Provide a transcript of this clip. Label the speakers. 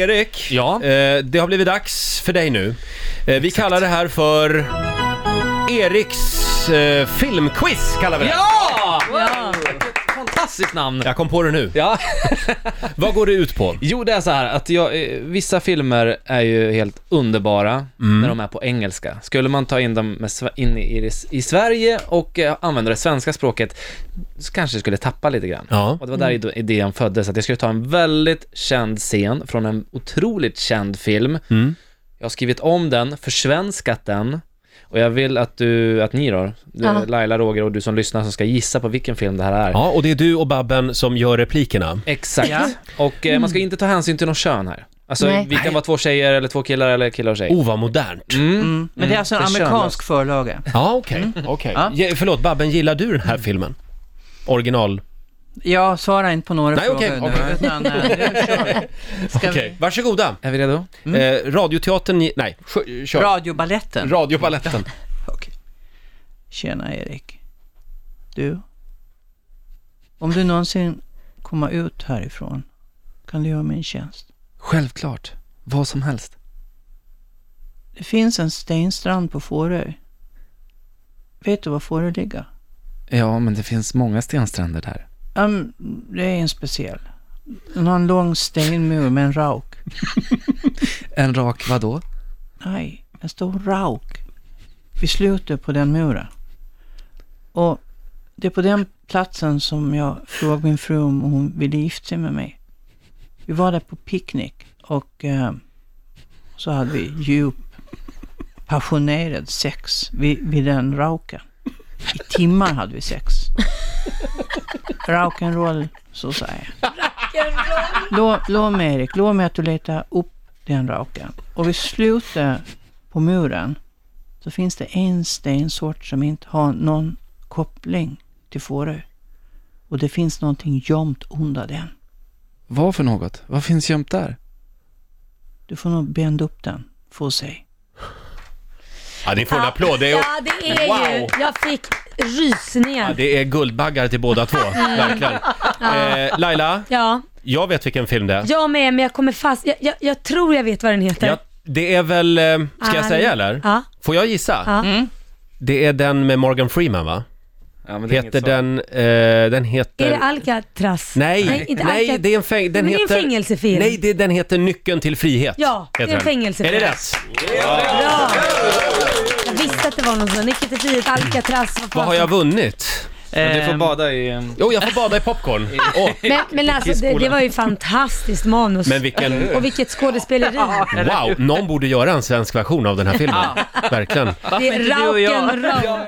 Speaker 1: Erik,
Speaker 2: Ja?
Speaker 1: eh, det har blivit dags för dig nu. Eh, vi kallar det här för Eriks eh, filmquiz. Kallar vi det.
Speaker 2: Ja!
Speaker 3: Ja.
Speaker 2: Fantastiskt namn!
Speaker 1: Jag kom på det nu.
Speaker 2: Ja.
Speaker 1: Vad går det ut på?
Speaker 2: Jo, det är så här att jag, eh, vissa filmer är ju helt underbara när de är på engelska. Skulle man ta in dem med, sve- in i, i, i Sverige och eh, använda det svenska språket så kanske det skulle tappa lite grann.
Speaker 1: Ja.
Speaker 2: Och det var där id- idén föddes, att jag skulle ta en väldigt känd scen från en otroligt känd film. Jag har skrivit om den, försvenskat den och jag vill att du, att ni då, du,
Speaker 3: Ja.
Speaker 2: Laila, Roger och du som lyssnar som ska gissa på vilken film det här är.
Speaker 1: Ja, och det är du och Babben som gör replikerna.
Speaker 2: Exakt. Och eh, man ska inte ta hänsyn till någon kön här. Alltså,
Speaker 3: Nej.
Speaker 2: vi kan vara två tjejer eller två killar eller killar och tjej.
Speaker 1: Oh, vad modernt.
Speaker 4: Mm. Men det
Speaker 2: Mm,
Speaker 4: är alltså en
Speaker 2: det är
Speaker 4: amerikansk förlaga.
Speaker 1: Mm. Ja, okej. okej.
Speaker 4: Ja.
Speaker 1: Ge- Förlåt, Babben, gillar du den här filmen? Original?
Speaker 4: Jag svarar inte på några
Speaker 1: Nej,
Speaker 4: frågor
Speaker 1: okej,
Speaker 4: nu,
Speaker 1: okej.
Speaker 4: utan eh, nu kör vi. Ska
Speaker 1: Okej, varsågoda.
Speaker 2: Är vi redo?
Speaker 1: Eh, radioteatern, ge- nej, sjö-
Speaker 4: vi...
Speaker 1: kör.
Speaker 4: Radiobaletten.
Speaker 1: Radiobaletten.
Speaker 4: Okej. Tjena Erik. Du. Om du någonsin kommer ut härifrån, kan du göra mig en tjänst?
Speaker 2: Självklart. Vad som helst.
Speaker 4: Det finns en stenstrand på Fårö. Vet du var Fårö ligger?
Speaker 2: Ja, men det finns många stenstränder där.
Speaker 4: Um, det är en speciell. Den har en lång stenmur med en rauk.
Speaker 2: En rak vadå?
Speaker 4: Nej, en stor rauk vid slutet på den muren. Och det är på den platsen som jag frågade min fru om hon ville gifta sig med mig. Vi var där på picknick och eh, så hade vi djup passionerad sex vid, vid den rauken. I timmar hade vi sex. Rock'n'roll, så säger jag. Lå, låt mig Erik, låt mig att du letar upp den raken. Och vid slutet på muren så finns det en stensort som inte har någon koppling till Fårö. Och det finns någonting gömt under den.
Speaker 2: Vad för något? Vad finns gömt där?
Speaker 4: Du får nog bända upp den för att se.
Speaker 1: Ja, ni får en applåd. Det är,
Speaker 3: Ja, det är ju...
Speaker 1: Wow.
Speaker 3: Jag fick
Speaker 1: ja,
Speaker 3: rysningar.
Speaker 1: det är guldbaggar till båda två, verkligen. Eh, Laila,
Speaker 3: Ja,
Speaker 1: jag vet vilken film det är.
Speaker 3: jag med, men jag kommer fast. Jag, jag, jag tror jag vet vad den heter.
Speaker 1: Ja, det är väl, eh, ska jag
Speaker 3: Arg.
Speaker 1: säga eller?
Speaker 3: Ah, Ja. Ah. Mm.
Speaker 1: Får jag gissa?
Speaker 3: Ja.
Speaker 1: Det är den med Morgan Freeman va?
Speaker 2: Ja, men
Speaker 1: Heter den, eh, den heter...
Speaker 3: Är det Alcatraz?
Speaker 1: Nej, nej,
Speaker 3: Nej, inte Alcatraz.
Speaker 1: det är en, fäng... den
Speaker 3: Men det är en
Speaker 1: heter...
Speaker 3: fängelsefilm.
Speaker 1: Nej, det, den heter Nyckeln till frihet.
Speaker 3: Ja, det är
Speaker 1: heter
Speaker 3: en
Speaker 1: den.
Speaker 3: fängelsefilm.
Speaker 1: Är det rätt?
Speaker 3: Bra! Jag visste att det var någon sån. Nicke till frihet, Alcatraz, vad
Speaker 1: Vad
Speaker 3: fan
Speaker 1: har jag vunnit?
Speaker 2: Men du får
Speaker 4: Ehm,
Speaker 2: bada i...
Speaker 1: Jo, jag får bada i popcorn. Åh,
Speaker 3: Men, men alltså, det, det var ju fantastiskt manus.
Speaker 1: men vilken...
Speaker 3: Och vilket skådespeleri.
Speaker 1: Wow, någon borde göra en svensk version av den här filmen. Verkligen.
Speaker 3: Det är
Speaker 4: inte du och jag?
Speaker 3: rock'n'roll.